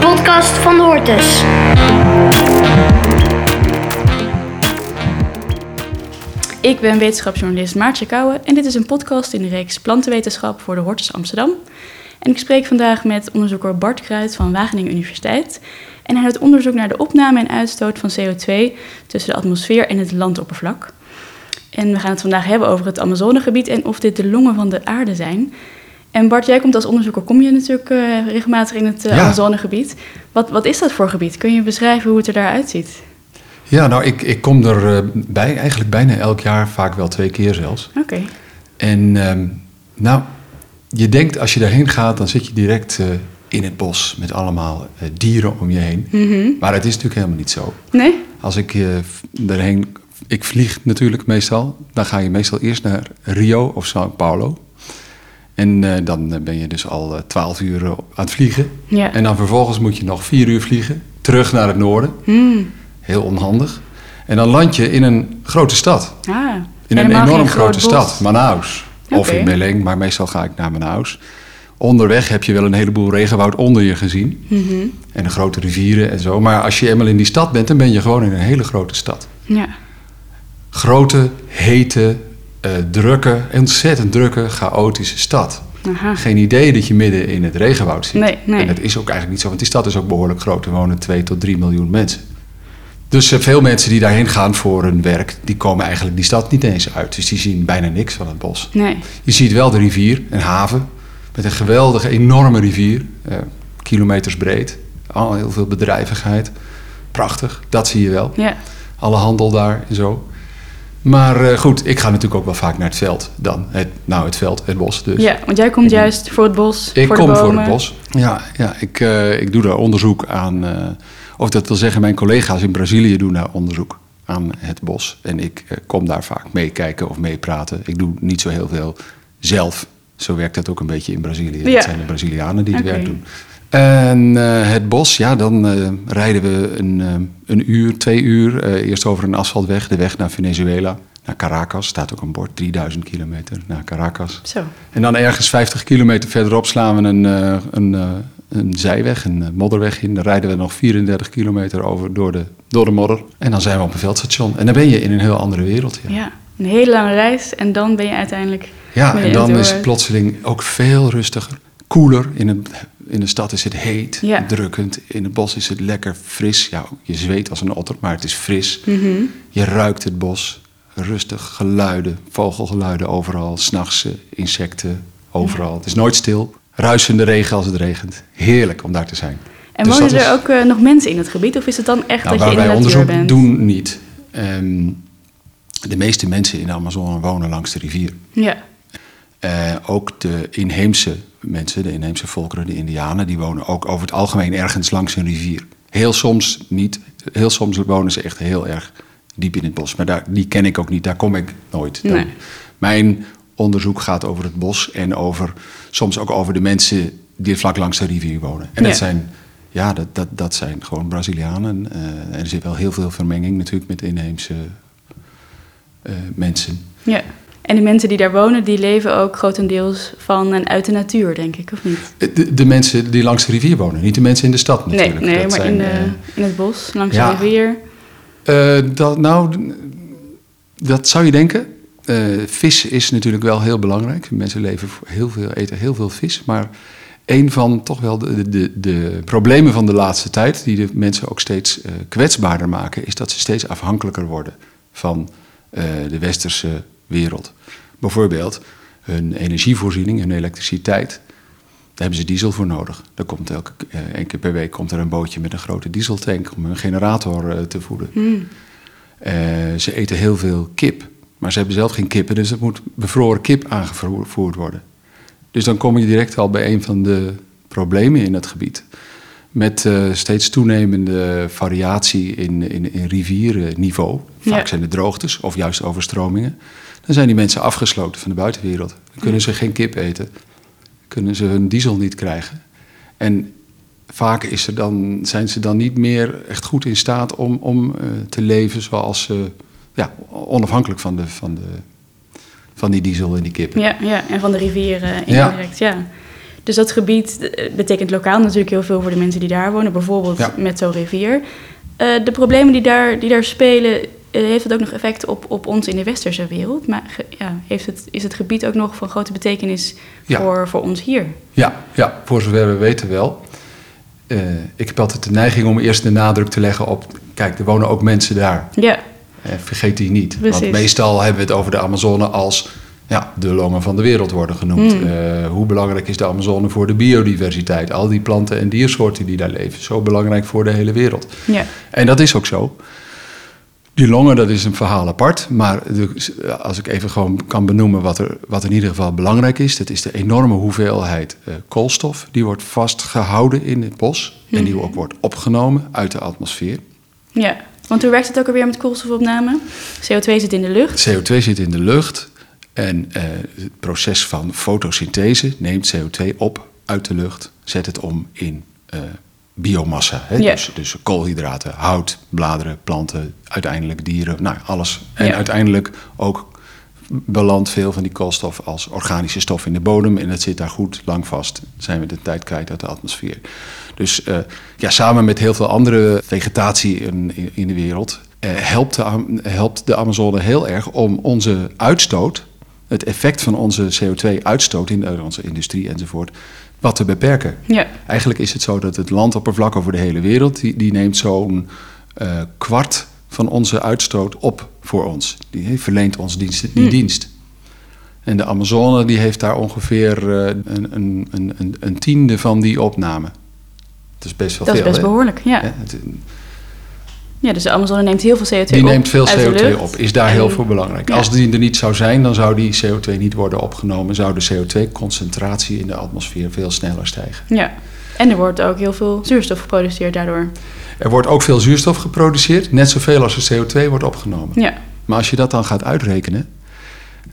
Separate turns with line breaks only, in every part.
podcast van de Hortus.
Ik ben wetenschapsjournalist Maartje Kouwen en dit is een podcast in de reeks Plantenwetenschap voor de Hortus Amsterdam. En ik spreek vandaag met onderzoeker Bart Kruid van Wageningen Universiteit. En hij doet onderzoek naar de opname en uitstoot van CO2 tussen de atmosfeer en het landoppervlak. En we gaan het vandaag hebben over het Amazonegebied en of dit de longen van de aarde zijn. En Bart, jij komt als onderzoeker, kom je natuurlijk eh, regelmatig in het eh,
Ja.
Amazonegebied. Wat, wat is dat voor gebied? Kun je beschrijven hoe het er daaruit ziet?
Ja, nou, ik, ik kom er eh, bij, eigenlijk bijna elk jaar, vaak wel twee keer zelfs.
Oké.
En ehm, nou, je denkt als je daarheen gaat, dan zit je direct eh, in het bos met allemaal eh, dieren om je heen. Maar het is natuurlijk helemaal niet zo.
Nee?
Als ik eh, v- daarheen, ik vlieg natuurlijk meestal, dan ga je meestal eerst naar Rio of Sao Paulo. En eh, dan eh, ben je dus al twaalf uur eh, aan het vliegen.
Ja.
En dan vervolgens moet je nog vier uur vliegen, terug naar het noorden.
Hmm.
Heel onhandig. En dan land je in een grote stad.
Ah,
In een
helemaal geen
enorm
groot
grote
bos.
stad, Manaus. Of
Oké.
in Belém, maar meestal ga ik naar Manaus. Onderweg heb je wel een heleboel regenwoud onder je gezien.
Mhm.
En de grote rivieren en zo. Maar als je eenmaal in die stad bent, dan ben je gewoon in een hele grote stad.
Ja.
Grote, hete, eh, drukke, ontzettend drukke, chaotische stad.
Aha.
Geen idee dat je midden in het regenwoud zit.
Nee, nee.
En dat is ook eigenlijk niet zo, want die stad is ook behoorlijk groot. Er wonen 2 tot 3 miljoen mensen. Dus eh, veel mensen die daarheen gaan voor hun werk, die komen eigenlijk die stad niet eens uit. Dus die zien bijna niks van het bos.
Nee.
Je ziet wel de rivier, een haven, met een geweldige, enorme rivier. eh, kilometers breed, al heel veel bedrijvigheid. Prachtig, dat zie je wel
Ja.
alle handel daar en zo. Maar eh, goed, ik ga natuurlijk ook wel vaak naar het veld dan. Het, nou, het veld, het bos dus.
ja, want jij komt juist voor het bos,
Ik
voor de
kom voor
bomen.
het bos. Ja, ja ik, eh, ik doe daar onderzoek aan. eh, of dat wil zeggen, mijn collega's in Brazilië doen daar onderzoek aan het bos. En ik eh, kom daar vaak meekijken of meepraten. Ik doe niet zo heel veel zelf. Zo werkt dat ook een beetje in Brazilië.
Ja.
Dat zijn de Brazilianen die het
Oké.
werk doen. En eh, het bos, ja, dan eh, rijden we een, eh, een uur, twee uur. eh, eerst over een asfaltweg, de weg naar Venezuela. Naar Caracas staat ook een bord, 3000 kilometer naar Caracas.
Zo.
En dan ergens 50 kilometer verderop slaan we een, eh, een, eh, een zijweg, een eh, modderweg in. Dan rijden we nog 34 kilometer over door de, door de modder. En dan zijn we op een veldstation. En dan ben je in een heel andere wereld. Ja,
Ja. Een hele lange reis en dan ben je uiteindelijk...
ja
midden
en
in
dan is
door-
het plotseling ook veel rustiger, koeler. In, een, in de stad is het heet,
Ja.
drukkend. In het bos is het lekker fris. Ja, je zweet als een otter, maar het is fris.
Mhm.
Je ruikt het bos. Rustig, geluiden, vogelgeluiden overal. S'nachts eh, insecten, overal. Het is nooit stil. Ruisende regen als het regent. Heerlijk om daar te zijn.
En
Dus
wonen
dat is-
er ook eh, nog mensen in het gebied? Of is het dan echt
nou,
dat
waar
je in de
wij
natuur
onderzoek
bent?
doen, niet. Ehm, de meeste mensen in de Amazone wonen langs de rivier.
Ja.
Eh, ook de inheemse mensen, de inheemse volkeren, de Indianen, die wonen ook over het algemeen ergens langs een rivier. Heel soms niet. Heel soms wonen ze echt heel erg diep in het bos. Maar daar, die ken ik ook niet, daar kom ik nooit. Dan-
Nee.
Mijn onderzoek gaat over het bos en over, soms ook over de mensen die vlak langs de rivier wonen. En
Ja.
dat zijn. Ja, dat, dat, dat zijn gewoon Brazilianen. Eh, en er zit wel heel veel vermenging natuurlijk met inheemse eh, mensen.
ja. En de mensen die daar wonen, die leven ook grotendeels van en uit de natuur, denk ik, of niet?
De, de mensen die langs de rivier wonen, niet de mensen in de stad
Nee,
natuurlijk.
nee
Dat
maar
zijn, eh,
in, eh, de, in het bos, langs
ja.
de rivier.
eh, eh, dat, nou, d- dat zou je denken. Eh, vis is natuurlijk wel heel belangrijk. Mensen leven voor heel veel, eten heel veel vis. Maar een van toch wel de, de- de, de problemen van de laatste tijd, die de mensen ook steeds eh, kwetsbaarder maken, is dat ze steeds afhankelijker worden van eh, de westerse wereld. Bijvoorbeeld hun energievoorziening, hun elektriciteit. Daar hebben ze diesel voor nodig. Er komt elke eh, één keer per week komt er een bootje met een grote dieseltank om hun generator eh, te voeden. Eh, ze eten heel veel kip, maar ze hebben zelf geen kippen, dus er moet bevroren kip aangevoerd worden. Dus dan kom je direct al bij een van de problemen in dat gebied. Met eh, steeds toenemende variatie in, in, in rivierenniveau. Vaak
Ja.
zijn het droogtes of juist overstromingen. Dan zijn die mensen afgesloten van de buitenwereld. Dan kunnen ze geen kip eten kunnen ze hun diesel niet krijgen. En vaak is er dan, zijn ze dan niet meer echt goed in staat om, om eh, te leven zoals ze, ja, onafhankelijk van, de, van, de, van die diesel en die kippen.
Ja, ja, en van de rivieren eh,
Ja.
indirect, ja. Dus dat gebied eh, betekent lokaal natuurlijk heel veel voor de mensen die daar wonen. Bijvoorbeeld
Ja.
met zo'n rivier. Eh, de problemen die daar, die daar spelen, eh, heeft dat ook nog effect op, op ons in de westerse wereld. Maar ge- ja, heeft het, is het gebied ook nog van grote betekenis
Ja.
voor, voor ons hier?
Ja, ja, voor zover we weten wel. Eh, ik heb altijd de neiging om eerst de nadruk te leggen op... kijk, er wonen ook mensen daar.
Ja,
Eh, vergeet die niet. Want
Precies.
meestal hebben we het over de Amazone als... Ja, de longen van de wereld worden genoemd.
Hmm.
Eh, hoe belangrijk is de Amazone voor de biodiversiteit? Al die planten en diersoorten die daar leven. Zo belangrijk voor de hele wereld.
ja,
En dat is ook zo. Die longen, dat is een verhaal apart. Maar de- als ik even gewoon kan benoemen wat er, wat in ieder geval belangrijk is... dat is de enorme hoeveelheid eh, koolstof. Die wordt vastgehouden in het bos.
Hmm.
En die ook wordt opgenomen uit de atmosfeer.
ja. Want hoe werkt het ook alweer met koolstofopname? CO2 zit in de lucht.
CO2 zit in de lucht. En eh, het proces van fotosynthese neemt CO2 op uit de lucht. Zet het om in eh, biomassa. Hè?
Ja.
Dus, dus koolhydraten, hout, bladeren, planten, uiteindelijk dieren. Nou, alles. En
Ja.
uiteindelijk ook belandt veel van die koolstof als organische stof in de bodem. En dat zit daar goed lang vast. Zijn we de tijd kwijt uit de atmosfeer. Dus eh, ja, samen met heel veel andere vegetatie in, in- in de wereld... eh, helpt, de, Am- helpt de Amazone heel erg om onze uitstoot... het effect van onze CO2-uitstoot in eh, onze industrie enzovoort... wat te beperken.
Ja,
Eigenlijk is het zo dat het landoppervlak over de hele wereld... die, die neemt zo'n eh, kwart van onze uitstoot op voor ons. Die verleent ons dienst,
Hmm.
die dienst. En de Amazone die heeft daar ongeveer eh, een, een, een- een, een tiende van die opname. Dat is best wel
dat is
veel.
best
hè?
behoorlijk. Ja.
Ja, het- eh,
Ja, dus de Amazone neemt heel veel CO2 op.
die neemt veel
uit de
CO2
lucht.
op, is daar
En-
heel voor belangrijk.
Ja.
Als die er niet zou zijn, dan zou die CO2 niet worden opgenomen. Zou de CO2-concentratie in de atmosfeer veel sneller stijgen.
Ja, en er wordt ook heel veel zuurstof geproduceerd daardoor.
Er wordt ook veel zuurstof geproduceerd, net zoveel als er CO2 wordt opgenomen.
Ja,
Maar als je dat dan gaat uitrekenen,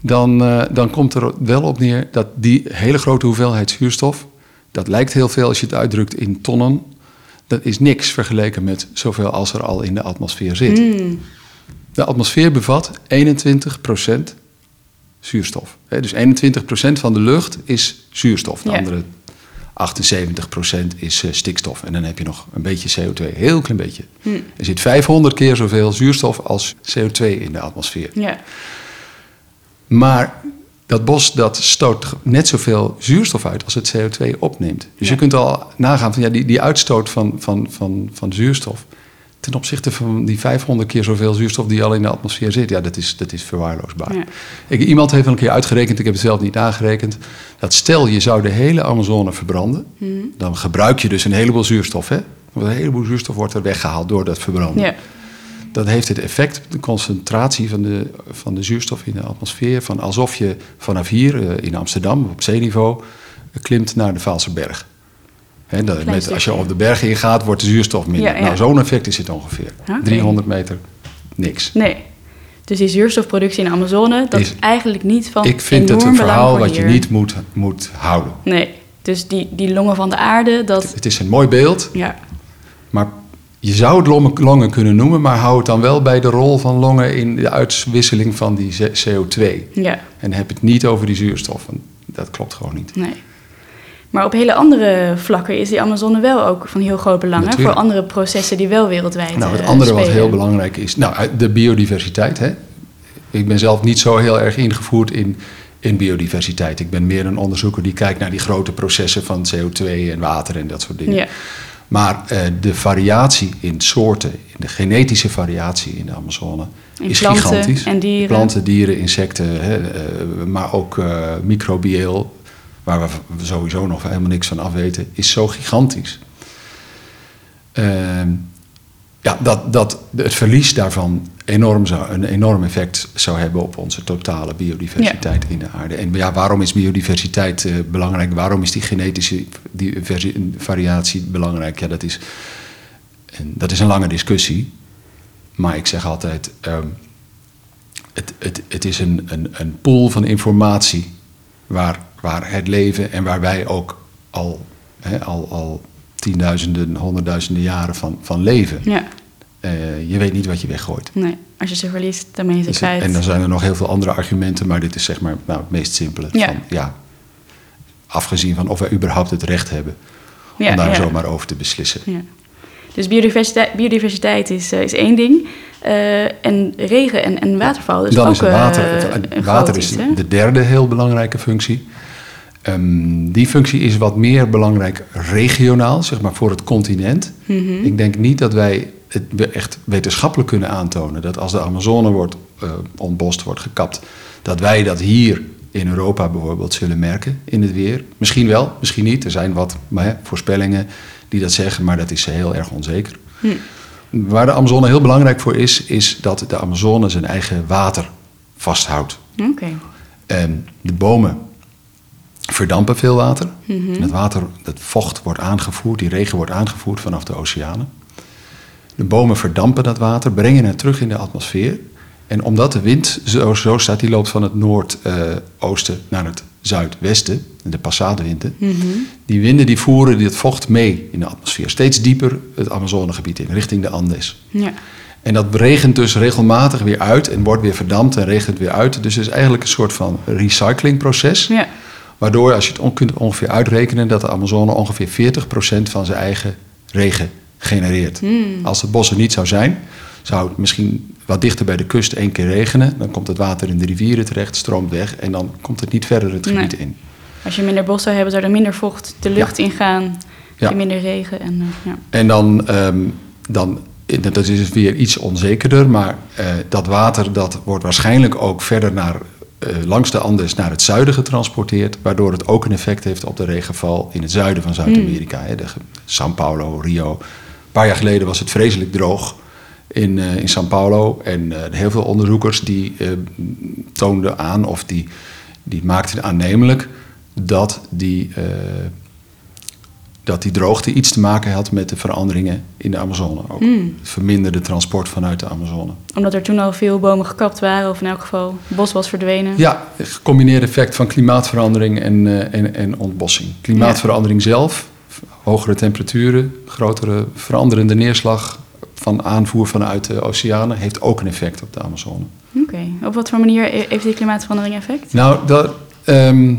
dan, eh, dan komt er wel op neer dat die hele grote hoeveelheid zuurstof, dat lijkt heel veel als je het uitdrukt in tonnen, dat is niks vergeleken met zoveel als er al in de atmosfeer zit.
Hmm.
De atmosfeer bevat 21% zuurstof. Hè, Dus 21% van de lucht is zuurstof. De
Ja.
andere 78% is eh, stikstof. En dan heb je nog een beetje CO2, heel klein beetje. Er zit 500 keer zoveel zuurstof als CO2 in de atmosfeer.
ja,
Maar dat bos dat stoot net zoveel zuurstof uit als het CO2 opneemt. Dus
Ja.
je kunt al nagaan van ja, die, die uitstoot van, van, van, van zuurstof. Ten opzichte van die 500 keer zoveel zuurstof die al in de atmosfeer zit, ja, dat is, dat is verwaarloosbaar.
Ja.
Ik, iemand heeft wel een keer uitgerekend, ik heb het zelf niet nagerekend. Dat stel je zou de hele Amazone verbranden,
Mhm.
dan gebruik je dus een heleboel zuurstof. Hè? Want een heleboel zuurstof wordt er weggehaald door dat verbranden
ja,
dan heeft het effect op de concentratie van de, van de zuurstof in de atmosfeer. Van alsof je vanaf hier eh, in Amsterdam op zeeniveau eh, klimt naar de Vaalse berg. Hè, dat-
Klein
met, als je
stukje.
op de berg ingaat, wordt de zuurstof minder.
Ja, ja.
Nou, zo'n effect is het ongeveer.
Oké.
300 meter, niks.
nee. Dus die zuurstofproductie in de Amazone, dat
Is-
is, eigenlijk niet van
Ik vind het
enorm
een
belang
verhaal
voor
wat je
hier.
niet moet, moet houden.
Nee, dus die, die longen van de aarde, dat...
Het is een mooi beeld,
Ja,
maar je zou het longen- longen kunnen noemen, maar hou het dan wel bij de rol van longen in de uitwisseling van die CO2.
ja,
En heb het niet over die zuurstof. want dat klopt gewoon niet.
nee. Maar op hele andere vlakken is die Amazone wel ook van heel groot belang. Hè, voor
Natuurlijk.
andere processen die wel wereldwijd
Nou, het
eh,
andere wat
spelen.
heel belangrijk is, nou, de biodiversiteit. Hè? Ik ben zelf niet zo heel erg ingevoerd in, in biodiversiteit. Ik ben meer een onderzoeker die kijkt naar die grote processen van CO2 en water en dat soort dingen.
Ja,
Maar eh, de variatie in soorten, de genetische variatie in de Amazone
In
is
planten
gigantisch.
en dieren.
Planten, dieren, insecten, hè, eh, maar ook eh, microbieel, waar we v- sowieso nog helemaal niks van af weten, is zo gigantisch. Ehm, ja, dat, dat het verlies daarvan enorm zou, een enorm effect zou hebben op onze totale biodiversiteit in de aarde. En ja, waarom is biodiversiteit eh, belangrijk? Waarom is die genetische diversi- variatie belangrijk? Ja, dat is, en dat is een lange discussie. Maar ik zeg altijd, ehm, het, het, het is een, een, een pool van informatie waar, waar het leven en waar wij ook al, hè, al, al tienduizenden, honderdduizenden jaren van, van leven.
ja,
Eh, je weet niet wat je weggooit.
nee. Als je ze verliest, dan ben je ze
Dus het-
kwijt.
en dan zijn er nog heel veel andere argumenten, maar dit is zeg maar nou, het meest simpele.
Ja.
Van, ja Afgezien van of wij überhaupt het recht hebben
Ja,
om daar
ja.
zomaar over te beslissen.
Ja. Dus biodiversiteit, biodiversiteit is, eh, is één ding. Eh, en regen en, en waterval is
Dan
ook
is het water.
eh,
Het-
een
het water
groot
is
iets, hè?
de derde heel belangrijke functie. Ehm, die functie is wat meer belangrijk regionaal, zeg maar voor het continent.
Mhm.
Ik denk niet dat wij het we- echt wetenschappelijk kunnen aantonen dat als de Amazone wordt eh, ontbost, wordt gekapt, dat wij dat hier in Europa bijvoorbeeld zullen merken in het weer. Misschien wel, misschien niet. Er zijn wat maar, hè, voorspellingen die dat zeggen, maar dat is heel erg onzeker. Waar de Amazone heel belangrijk voor is, is dat de Amazone zijn eigen water vasthoudt.
Oké.
En de bomen verdampen veel water. En het water, dat vocht wordt aangevoerd, die regen wordt aangevoerd vanaf de oceanen. De bomen verdampen dat water, brengen het terug in de atmosfeer. En omdat de wind zo, zo staat, die loopt van het noordoosten naar het zuidwesten, de passadewinden. Die winden die voeren dit vocht mee in de atmosfeer. Steeds dieper het Amazonegebied in, richting de Andes.
Ja.
En dat regent dus regelmatig weer uit en wordt weer verdampt en regent weer uit. Dus het is eigenlijk een soort van recyclingproces.
ja.
Waardoor, als je het on- kunt ongeveer uitrekenen, dat de Amazone ongeveer 40% van zijn eigen regen genereert.
Hmm.
Als het bos er niet zou zijn, zou het misschien wat dichter bij de kust één keer regenen. Dan komt het water in de rivieren terecht, stroomt weg en dan komt het niet verder het gebied
Nee.
in.
Als je minder bos zou hebben, zou er minder vocht de lucht ingaan.
Ja.
en Minder regen. En, eh, ja.
En dan, ehm, dan eh, dat is dus weer iets onzekerder, maar eh, dat water dat wordt waarschijnlijk ook verder naar, eh, langs de Andes naar het zuiden getransporteerd, waardoor het ook een effect heeft op de regenval in het zuiden van Zuid-Amerika. hè. De ge- São Paulo, Rio. Een paar jaar geleden was het vreselijk droog in, eh, in São Paulo en eh, heel veel onderzoekers die eh, toonden aan of die, die maakten aannemelijk dat die eh, dat die droogte iets te maken had met de veranderingen in de Amazone. Ook het verminderde transport vanuit de Amazone.
Omdat er toen al veel bomen gekapt waren, of in elk geval bos was verdwenen.
Ja, het gecombineerde effect van klimaatverandering en, eh, en, en ontbossing. Klimaatverandering zelf, hogere temperaturen, grotere veranderende neerslag van aanvoer vanuit de oceanen, heeft ook een effect op de Amazone.
Oké. Op wat voor manier he- heeft die klimaatverandering effect?
Nou, dat, ehm,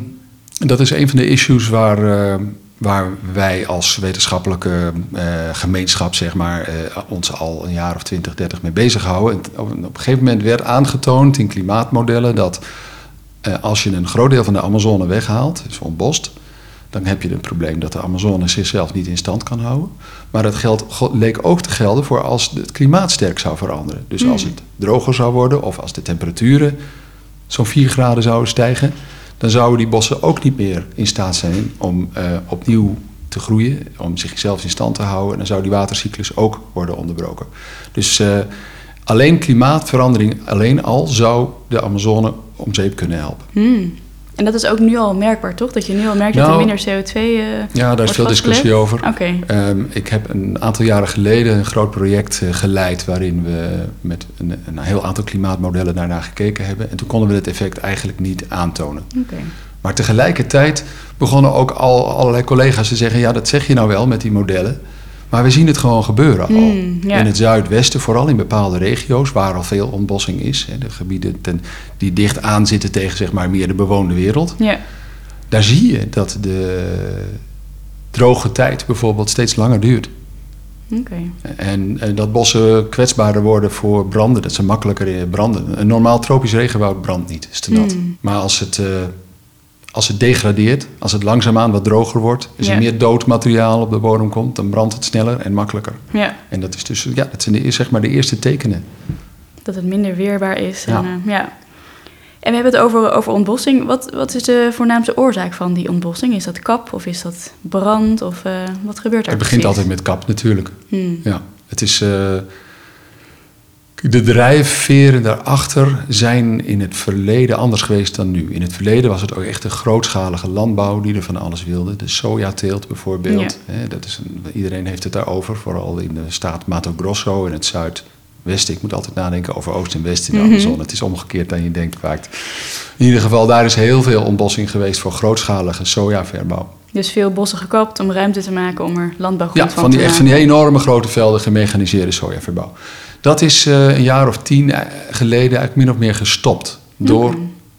dat is een van de issues waar, eh, waar wij als wetenschappelijke eh, gemeenschap zeg maar, eh, ons al een jaar of 20, 30 mee bezighouden. En op, op een gegeven moment werd aangetoond in klimaatmodellen dat eh, als je een groot deel van de Amazone weghaalt, dus ontbost, dan heb je het probleem dat de Amazone zichzelf niet in stand kan houden. Maar dat geldt, go- leek ook te gelden voor als het klimaat sterk zou veranderen. Dus als het droger zou worden of als de temperaturen zo'n 4 graden zouden stijgen, dan zouden die bossen ook niet meer in staat zijn om eh, opnieuw te groeien, om zichzelf in stand te houden. En dan zou die watercyclus ook worden onderbroken. Dus eh, alleen klimaatverandering alleen al zou de Amazone om zeep kunnen helpen.
Hmm. En dat is ook nu al merkbaar, toch? Dat je nu al merkt dat
Nou,
er minder CO2 eh
Ja, daar
wordt
is veel discussie
vastgelegd?
over.
Oké.
Ehm, ik heb een aantal jaren geleden een groot project eh, geleid waarin we met een, een heel aantal klimaatmodellen daarnaar gekeken hebben. En toen konden we het effect eigenlijk niet aantonen.
Oké.
Maar tegelijkertijd begonnen ook al allerlei collega's te zeggen: ja, dat zeg je nou wel met die modellen. Maar we zien het gewoon gebeuren al.
Hmm, ja.
In het zuidwesten, vooral in bepaalde regio's waar al veel ontbossing is. Hè, de gebieden ten, die dicht aan zitten tegen zeg maar, meer de bewoonde wereld.
Ja.
Daar zie je dat de droge tijd bijvoorbeeld steeds langer duurt.
Oké.
En, en dat bossen kwetsbaarder worden voor branden, dat ze makkelijker eh, branden. Een normaal tropisch regenwoud brandt niet, is te nat.
Hmm.
Maar als het, eh, als het degradeert, als het langzaamaan wat droger wordt, als
Ja.
er meer dood materiaal op de bodem komt, dan brandt het sneller en makkelijker.
Ja.
En dat, is dus, ja, dat zijn de, zeg maar de eerste tekenen.
Dat het minder weerbaar is. En,
Ja.
eh, ja. En we hebben het over, over ontbossing. Wat, wat is de voornaamste oorzaak van die ontbossing? Is dat kap of is dat brand? Of eh, wat gebeurt daar
Het begint
precies?
altijd met kap natuurlijk.
Hmm.
Ja, het is. eh, de drijfveren daarachter zijn in het verleden anders geweest dan nu. In het verleden was het ook echt een grootschalige landbouw die er van alles wilde. De sojateelt bijvoorbeeld. Hè, dat is een, iedereen heeft het daarover, vooral in de staat Mato Grosso in het zuidwesten. Ik moet altijd nadenken over oost en west in de
Mhm.
Amazone. Het is omgekeerd dan je denkt vaak. In ieder geval, daar is heel veel ontbossing geweest voor grootschalige sojaverbouw.
Dus veel bossen gekapt om ruimte te maken om er landbouwgrond
Ja,
van,
van die,
te
echt van
maken.
die enorme grote velden gemechaniseerde sojaverbouw.
Mm.
Dat is eh, een jaar of tien eh, geleden eigenlijk min of meer gestopt. Door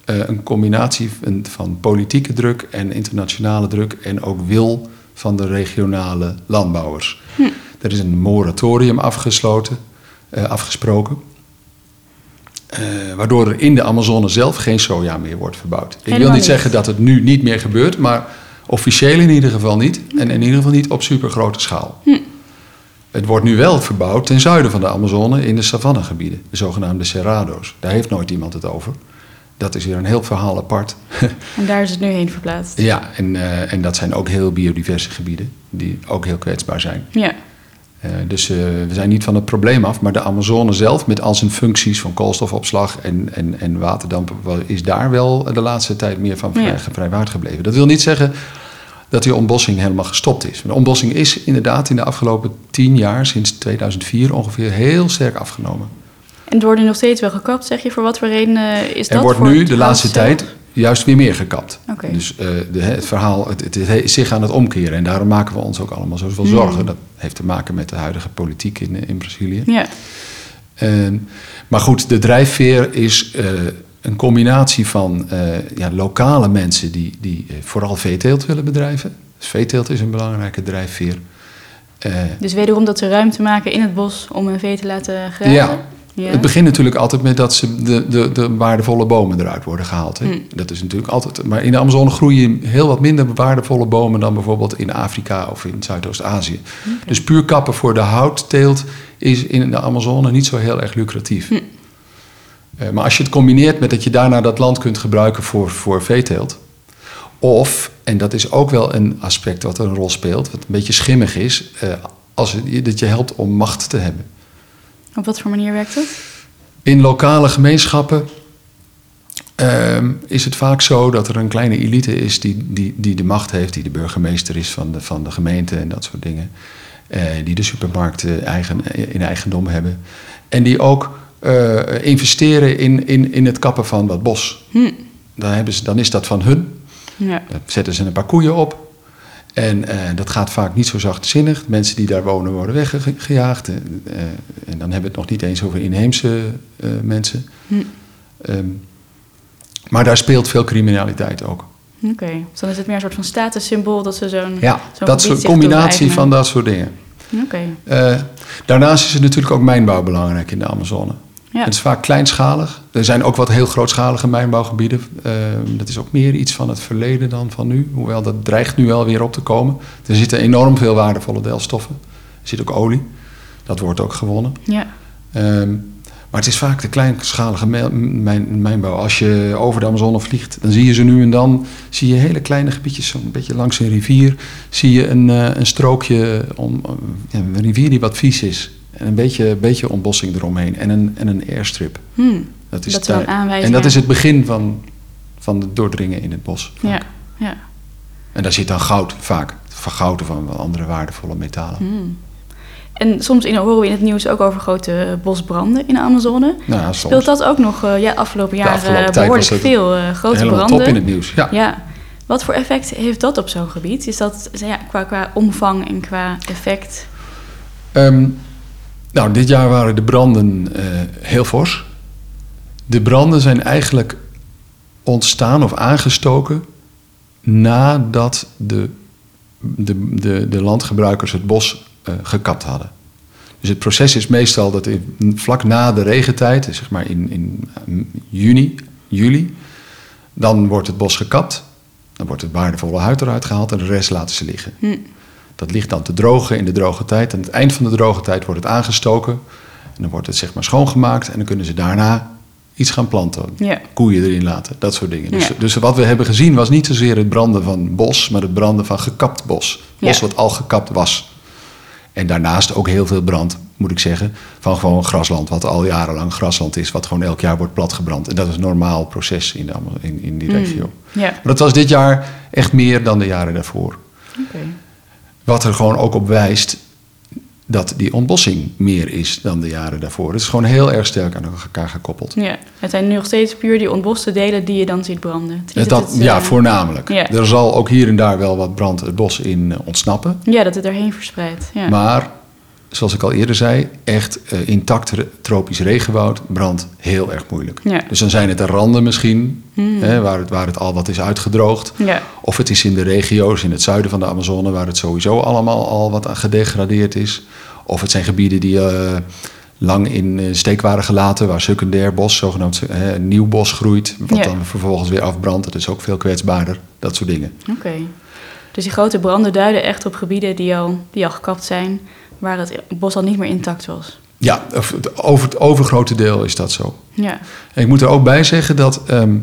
eh, een combinatie van, van politieke druk en internationale druk en ook wil van de regionale landbouwers.
Hm.
Er is een moratorium afgesloten, eh, afgesproken, eh, waardoor er in de Amazone zelf geen soja meer wordt verbouwd. Ik wil
Helemaal
niet
niet.
zeggen dat het nu niet meer gebeurt, maar officieel in ieder geval niet. En in ieder geval niet op supergrote schaal. Het wordt nu wel verbouwd ten zuiden van de Amazone in de savannegebieden, de zogenaamde cerrado's. Daar heeft nooit iemand het over. Dat is weer een heel verhaal apart.
En daar is het nu heen verplaatst.
ja, en, eh, en dat zijn ook heel biodiverse gebieden, die ook heel kwetsbaar zijn.
Ja.
Eh, dus eh, we zijn niet van het probleem af, maar de Amazone zelf, met al zijn functies van koolstofopslag en, en, en waterdamp, wel- is daar wel de laatste tijd meer van vrij,
Ja.
vrijwaard gebleven. Dat wil niet zeggen dat die ontbossing helemaal gestopt is. De ontbossing is inderdaad in de afgelopen tien jaar, sinds 2004 ongeveer, heel sterk afgenomen.
En het wordt nu nog steeds wel gekapt, zeg je? Voor wat voor reden eh, is dat?
er wordt
Voor
nu
het
de laatste
hout zelf?
tijd juist weer meer gekapt.
Oké.
Dus eh, de, het verhaal het, het is zich aan het omkeren. En daarom maken we ons ook allemaal zoveel
Hmm.
zorgen. Dat heeft te maken met de huidige politiek in, eh, in Brazilië.
Ja.
En- Ehm, maar goed, de drijfveer is eh, een combinatie van eh, ja, lokale mensen die, die eh, vooral veeteelt willen bedrijven. Dus veeteelt is een belangrijke drijfveer. Eh,
Dus wederom dat ze ruimte maken in het bos om een vee te laten grazen.
ja.
Ja.
Het begint natuurlijk altijd met dat ze de, de, de waardevolle bomen eruit worden gehaald. Hè? Dat is natuurlijk altijd. Maar in de Amazone groeien heel wat minder waardevolle bomen dan bijvoorbeeld in Afrika of in Zuidoost-Azië. Dus puur kappen voor de houtteelt is in de Amazone niet zo heel erg lucratief. Eh, maar als je het combineert met dat je daarna dat land kunt gebruiken voor, voor veeteelt. Of, en dat is ook wel een aspect wat een rol speelt, wat een beetje schimmig is, eh, als het, dat je helpt om macht te hebben.
Op wat voor manier werkt dat?
In lokale gemeenschappen ehm, is het vaak zo dat er een kleine elite is die, die, die de macht heeft, die de burgemeester is van de, van de gemeente en dat soort dingen. Eh, die de supermarkten eigen, in eigendom hebben. En die ook eh, investeren in, in, in het kappen van wat bos.
Hm.
Dan, hebben ze, dan is dat van hun.
Ja.
Dan Eh, zetten ze een paar koeien op. En eh, dat gaat vaak niet zo zachtzinnig. De mensen die daar wonen worden weggejaagd. En, eh, en dan hebben we het nog niet eens over inheemse eh, mensen.
Hm.
Ehm, maar daar speelt veel criminaliteit ook.
Oké. Dus dan is het meer een soort van statussymbool dat ze Hm. zo'n.
Ja,
zo'n
dat
gebied
is een
zich
combinatie
toe-eigenen.
van dat soort dingen.
Oké.
Eh, daarnaast is het natuurlijk ook mijnbouw belangrijk in de Amazone.
Ja.
Het is vaak kleinschalig. Er zijn ook wat heel grootschalige mijnbouwgebieden. Eh, dat is ook meer iets van het verleden dan van nu. Hoewel dat dreigt nu wel weer op te komen. Er zitten enorm veel waardevolle delfstoffen. Er zit ook olie. Dat wordt ook gewonnen.
Ja.
Ehm, maar het is vaak de kleinschalige mij- mijn, mijnbouw. Als je over de Amazone vliegt, dan zie je ze nu en dan. Zie je hele kleine gebiedjes, zo'n beetje langs een rivier. Zie je een, eh, een strookje, om, om- ja, een rivier die wat vies is. En een beetje, beetje ontbossing eromheen. En een, en een airstrip.
Hm.
Dat
Dat zijn
daar-
dan aanwijzingen.
En dat is het begin van, van het doordringen in het bos.
Ja. Ja.
En daar zit dan goud vaak. Vergouden van andere waardevolle metalen.
Hmm. En soms in, horen we in het nieuws ook over grote eh, bosbranden in de Amazone.
Nou, ja, soms.
Speelt dat ook nog eh, ja, afgelopen jaren
afgelopen tijd
behoorlijk
was dat
veel eh, grote
Helemaal
branden?
top in het nieuws. Ja.
Ja. Wat voor effect heeft dat op zo'n gebied? Is dat ja, qua, qua omvang en qua effect?
Ehm, nou, dit jaar waren de branden eh, heel fors. De branden zijn eigenlijk ontstaan of aangestoken nadat de, de, de, de landgebruikers het bos eh, gekapt hadden. Dus het proces is meestal dat in, vlak na de regentijd, dus zeg maar in, in eh, juni, juli, dan wordt het bos gekapt. Dan wordt het waardevolle huid eruit gehaald en de rest laten ze liggen. Dat ligt dan te drogen in de droge tijd. Aan het eind van de droge tijd wordt het aangestoken. En dan wordt het zeg maar schoongemaakt. En dan kunnen ze daarna iets gaan planten.
Ja.
Koeien erin laten, dat soort dingen. Dus,
Ja.
dus wat we hebben gezien was niet zozeer het branden van bos... maar het branden van gekapt bos. Bos
Ja.
wat al gekapt was. En daarnaast ook heel veel brand, moet ik zeggen... van gewoon grasland, wat al jarenlang grasland is... wat gewoon elk jaar wordt platgebrand. En dat is een normaal proces in, de, Amaz- in, in
Hmm.
die regio.
Ja.
Maar dat was dit jaar echt meer dan de jaren daarvoor.
Oké.
Wat er gewoon ook op wijst dat die ontbossing meer is dan de jaren daarvoor. Het is gewoon heel erg sterk aan elkaar gekoppeld.
Ja. Het zijn nu nog steeds puur die ontboste delen die je dan ziet branden. Het is niet
dat,
het, eh,
ja, voornamelijk.
ja.
Er zal ook hier en daar wel wat brand het bos in eh, ontsnappen.
Ja, dat het erheen verspreidt. Ja.
Maar zoals ik al eerder zei, echt eh, intact re- tropisch regenwoud brandt heel erg moeilijk.
Ja. Hmm.
Dus dan zijn het de randen misschien, hè, waar, het, waar het al wat is uitgedroogd.
Ja.
Of het is in de regio's in het zuiden van de Amazone, waar het sowieso allemaal al wat aan gedegradeerd is. Of het zijn gebieden die eh, lang in eh, steek waren gelaten, waar secundair bos, zogenaamd eh, nieuw bos groeit, wat
Ja.
dan vervolgens weer afbrandt. Dat is ook veel kwetsbaarder, dat soort dingen.
Oké. Dus die grote branden duiden echt op gebieden die al, die al gekapt zijn, waar het bos al niet meer intact was.
Ja, of het- over het overgrote deel is dat zo.
Ja,
En ik moet er ook bij zeggen dat ehm,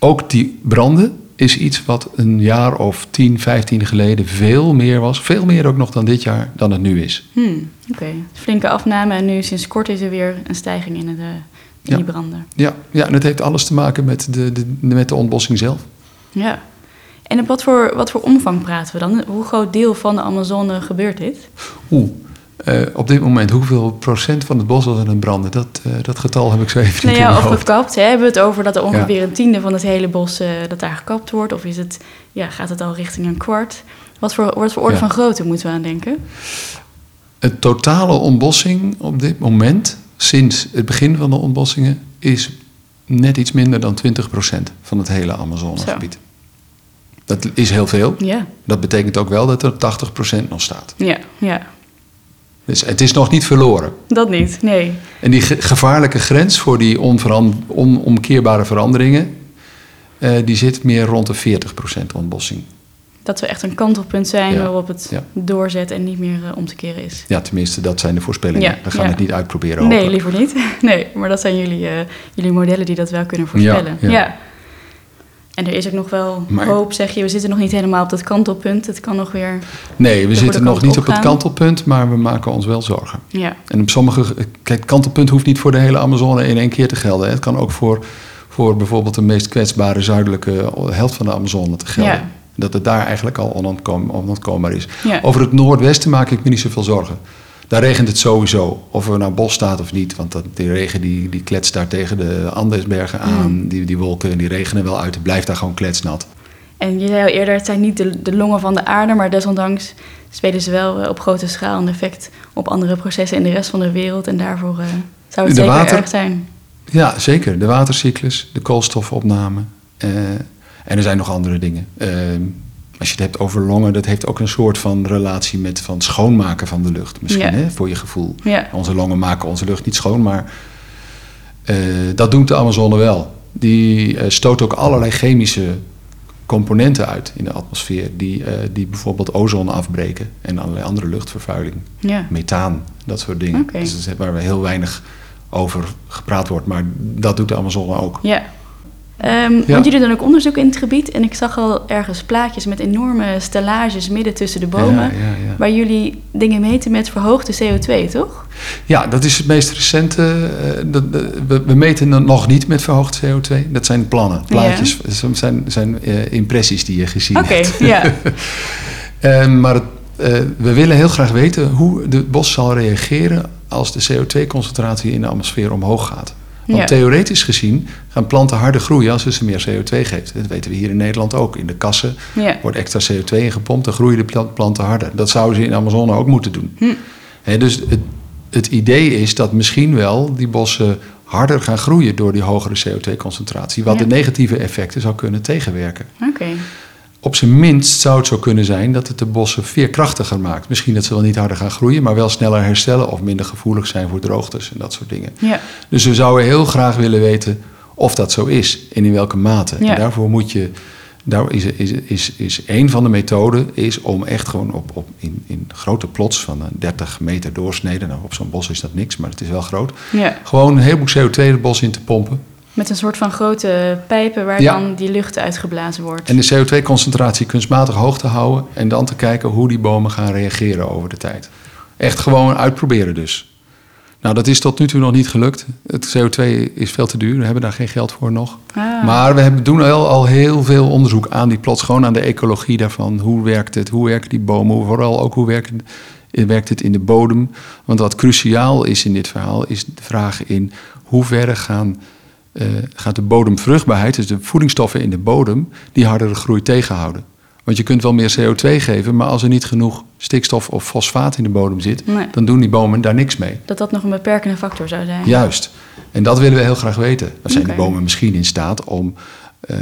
ook die branden is iets wat een jaar of 10, 15 geleden veel meer was. Veel meer ook nog dan dit jaar, dan het nu is.
hmm. oké. Flinke afname en nu sinds kort is er weer een stijging in, het, eh, in
Ja.
die branden.
Ja, ja en het heeft alles te maken met de, de, met de ontbossing zelf.
Ja. En op wat voor, wat voor omvang praten we dan? Hoe groot deel van de Amazone gebeurt dit?
Oeh, eh, op dit moment, hoeveel procent van het bos was aan het branden? Dat, eh, dat getal heb ik zo even
Nou
niet in
ja,
mijn
of
hoofd.
gekapt. Hè? Hebben we het over dat er
Ja.
ongeveer een tiende van het hele bos eh, dat daar gekapt wordt? Of is het, ja, gaat het al richting een kwart? Wat voor, wat voor orde
Ja.
van grootte moeten we aan denken?
Het totale ontbossing op dit moment, sinds het begin van de ontbossingen, is net iets minder dan 20% van het hele Amazonegebied. Dat is heel veel.
Ja,
Dat betekent ook wel dat er 80% nog staat.
ja, ja.
Dus het is nog niet verloren.
Dat niet, nee.
En die ge- gevaarlijke grens voor die onveran- onomkeerbare veranderingen, eh, die zit meer rond de 40% ontbossing.
Dat we echt een kantelpunt zijn
Ja,
waarop het
ja.
doorzet en niet meer eh, om te keren is.
Ja, tenminste, dat zijn de voorspellingen.
Ja,
We gaan
ja.
het niet uitproberen.
Nee,
hopelijk.
liever niet. Nee, maar dat zijn jullie, eh, jullie modellen die dat wel kunnen voorspellen.
Ja,
Ja,
ja.
En er is ook nog wel
Maar-
hoop, zeg je. We zitten nog niet helemaal op dat kantelpunt. Het kan nog weer...
nee we
de
zitten nog
kant
niet op het
opgaan.
kantelpunt, maar we maken ons wel zorgen.
Ja,
En op sommige. Kijk, het kantelpunt hoeft niet voor de hele Amazone in één keer te gelden. hè. Het kan ook voor, voor bijvoorbeeld de meest kwetsbare zuidelijke helft van de Amazone te gelden.
Ja.
Dat het daar eigenlijk al onontkoom, onontkoombaar is.
Ja.
Over het noordwesten maak ik me niet zoveel zorgen. Daar regent het sowieso, of er nou bos staat of niet. Want dat, die regen die, die kletst daar tegen de Andesbergen aan.
Mm.
Die, die wolken die regenen wel uit. Het blijft daar gewoon kletsnat.
en je zei al eerder, het zijn niet de, de longen van de aarde, maar desondanks spelen ze wel eh, op grote schaal een effect op andere processen in de rest van de wereld. En daarvoor eh, zou het
De
zeker
water-
erg zijn.
Ja, zeker. De watercyclus, de koolstofopname. eh, en er zijn nog andere dingen. Eh, als je het hebt over longen, dat heeft ook een soort van relatie met van schoonmaken van de lucht. Misschien
Ja.
hè, voor je gevoel.
Ja.
Onze longen maken onze lucht niet schoon, maar eh, dat doet de Amazone wel. Die eh, stoot ook allerlei chemische componenten uit in de atmosfeer. Die, eh, die bijvoorbeeld ozon afbreken en allerlei andere luchtvervuiling
Ja.
methaan, dat soort dingen.
Oké.
Dus dat is waar we heel weinig over gepraat wordt. Maar dat doet de Amazone ook.
Ja. Ehm,
Ja.
Want jullie doen ook onderzoek in het gebied. En ik zag al ergens plaatjes met enorme stellages midden tussen de bomen.
Ja, ja, ja.
Waar jullie dingen meten met verhoogde CO2, toch?
Ja, dat is het meest recente. eh, dat- dat- we, we meten het nog niet met verhoogd CO2. Dat zijn plannen, plaatjes. Dat zijn, zijn eh, impressies die je gezien
Oké,
hebt.
ja.
Eh, maar het, eh, we willen heel graag weten hoe het bos zal reageren als de CO2-concentratie in de atmosfeer omhoog gaat. Want
Ja.
theoretisch gezien gaan planten harder groeien als je ze meer CO2 geeft. Dat weten we hier in Nederland ook. In de kassen
Ja.
wordt extra CO2 ingepompt, dan groeien de plant- planten harder. Dat zouden ze in de Amazone ook moeten doen. Hè, dus het, het idee is dat misschien wel die bossen harder gaan groeien door die hogere CO2-concentratie, wat
Ja.
de negatieve effecten zou kunnen tegenwerken.
Oké.
Op zijn minst zou het zo kunnen zijn dat het de bossen veerkrachtiger maakt. Misschien dat ze wel niet harder gaan groeien, maar wel sneller herstellen of minder gevoelig zijn voor droogtes en dat soort dingen.
Ja.
Dus we zouden heel graag willen weten of dat zo is en in welke mate.
Ja.
En daarvoor moet je, daar is, is, is, is een van de methoden, is om echt gewoon op, op in, in grote plots van een 30 meter doorsnede, nou op zo'n bos is dat niks, maar het is wel groot,
ja.
gewoon een heleboel CO2 het bos in te pompen.
Met een soort van grote pijpen waar
Ja.
dan die lucht uitgeblazen wordt.
En de CO2-concentratie kunstmatig hoog te houden en dan te kijken hoe die bomen gaan reageren over de tijd. Echt gewoon uitproberen dus. Nou, dat is tot nu toe nog niet gelukt. Het CO2 is veel te duur, we hebben daar geen geld voor nog.
Ah.
Maar we hebben, doen wel al heel veel onderzoek aan die plots, gewoon aan de ecologie daarvan. Hoe werkt het? Hoe werken die bomen? Vooral ook hoe werken, werkt het in de bodem? Want wat cruciaal is in dit verhaal, is de vraag in hoeverre gaan, eh, gaat de bodemvruchtbaarheid, dus de voedingsstoffen in de bodem, die hardere groei tegenhouden. Want je kunt wel meer CO2 geven, maar als er niet genoeg stikstof of fosfaat in de bodem zit,
Nee.
dan doen die bomen daar niks mee.
Dat dat nog een beperkende factor zou zijn.
Juist. En dat willen we heel graag weten. Dan zijn
Oké.
die bomen misschien in staat om, eh,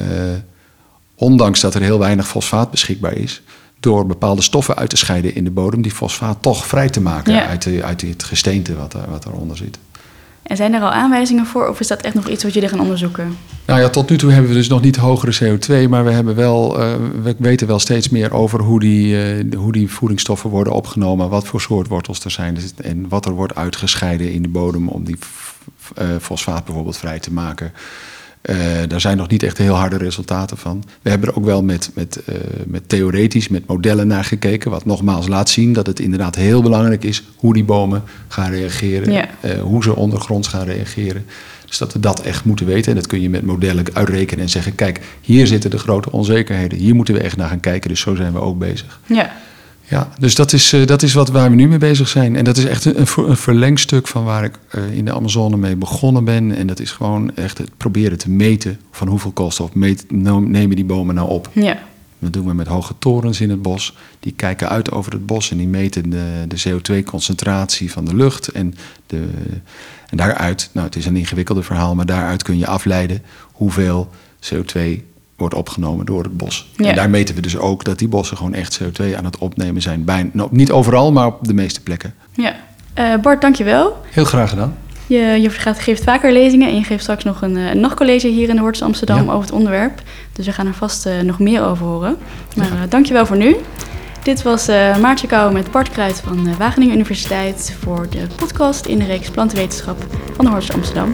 ondanks dat er heel weinig fosfaat beschikbaar is, door bepaalde stoffen uit te scheiden in de bodem, die fosfaat toch vrij te maken
Ja.
uit, de, uit het gesteente wat, daar- wat daaronder zit.
En zijn er al aanwijzingen voor of is dat echt nog iets wat jullie gaan onderzoeken?
Nou ja, tot nu toe hebben we dus nog niet hogere CO2, maar we, hebben wel, eh, we weten wel steeds meer over hoe die, eh, hoe die voedingsstoffen worden opgenomen, wat voor soort wortels er zijn dus- en wat er wordt uitgescheiden in de bodem om die f- f- eh, fosfaat bijvoorbeeld vrij te maken. Eh, daar zijn nog niet echt heel harde resultaten van. We hebben er ook wel met, met, eh, met theoretisch, met modellen naar gekeken, wat nogmaals laat zien dat het inderdaad heel belangrijk is hoe die bomen gaan reageren,
Ja.
eh, hoe ze ondergronds gaan reageren. Dus dat we dat echt moeten weten. En dat kun je met modellen uitrekenen en zeggen: kijk, hier zitten de grote onzekerheden. Hier moeten we echt naar gaan kijken. Dus zo zijn we ook bezig.
Ja.
Ja, dus dat is, eh, dat is wat waar we nu mee bezig zijn. En dat is echt een, een ver- een verlengstuk van waar ik eh, in de Amazone mee begonnen ben. En dat is gewoon echt het proberen te meten van hoeveel koolstof meet, no- nemen die bomen nou op.
Ja.
Dat doen we met hoge torens in het bos. Die kijken uit over het bos en die meten de, de CO2-concentratie van de lucht. En, de, en daaruit, nou het is een ingewikkelde verhaal, maar daaruit kun je afleiden hoeveel CO2 wordt opgenomen door het bos.
Ja.
En daar meten we dus ook dat die bossen gewoon echt CO2 aan het opnemen zijn. Bijna, nou, niet overal, maar op de meeste plekken.
ja. Eh, Bart, dankjewel.
Heel graag gedaan.
Je, je gaat, geeft vaker lezingen en je geeft straks nog een, eh, een nachtcollege hier in de Hortus Amsterdam
Ja.
over het onderwerp. Dus we gaan er vast eh, nog meer over horen. Maar eh, dankjewel voor nu. Dit was eh, Maartje Kouwen met Bart eh, Kruid van de Wageningen Universiteit voor de podcast in de reeks Plantenwetenschap van de Hortus Amsterdam.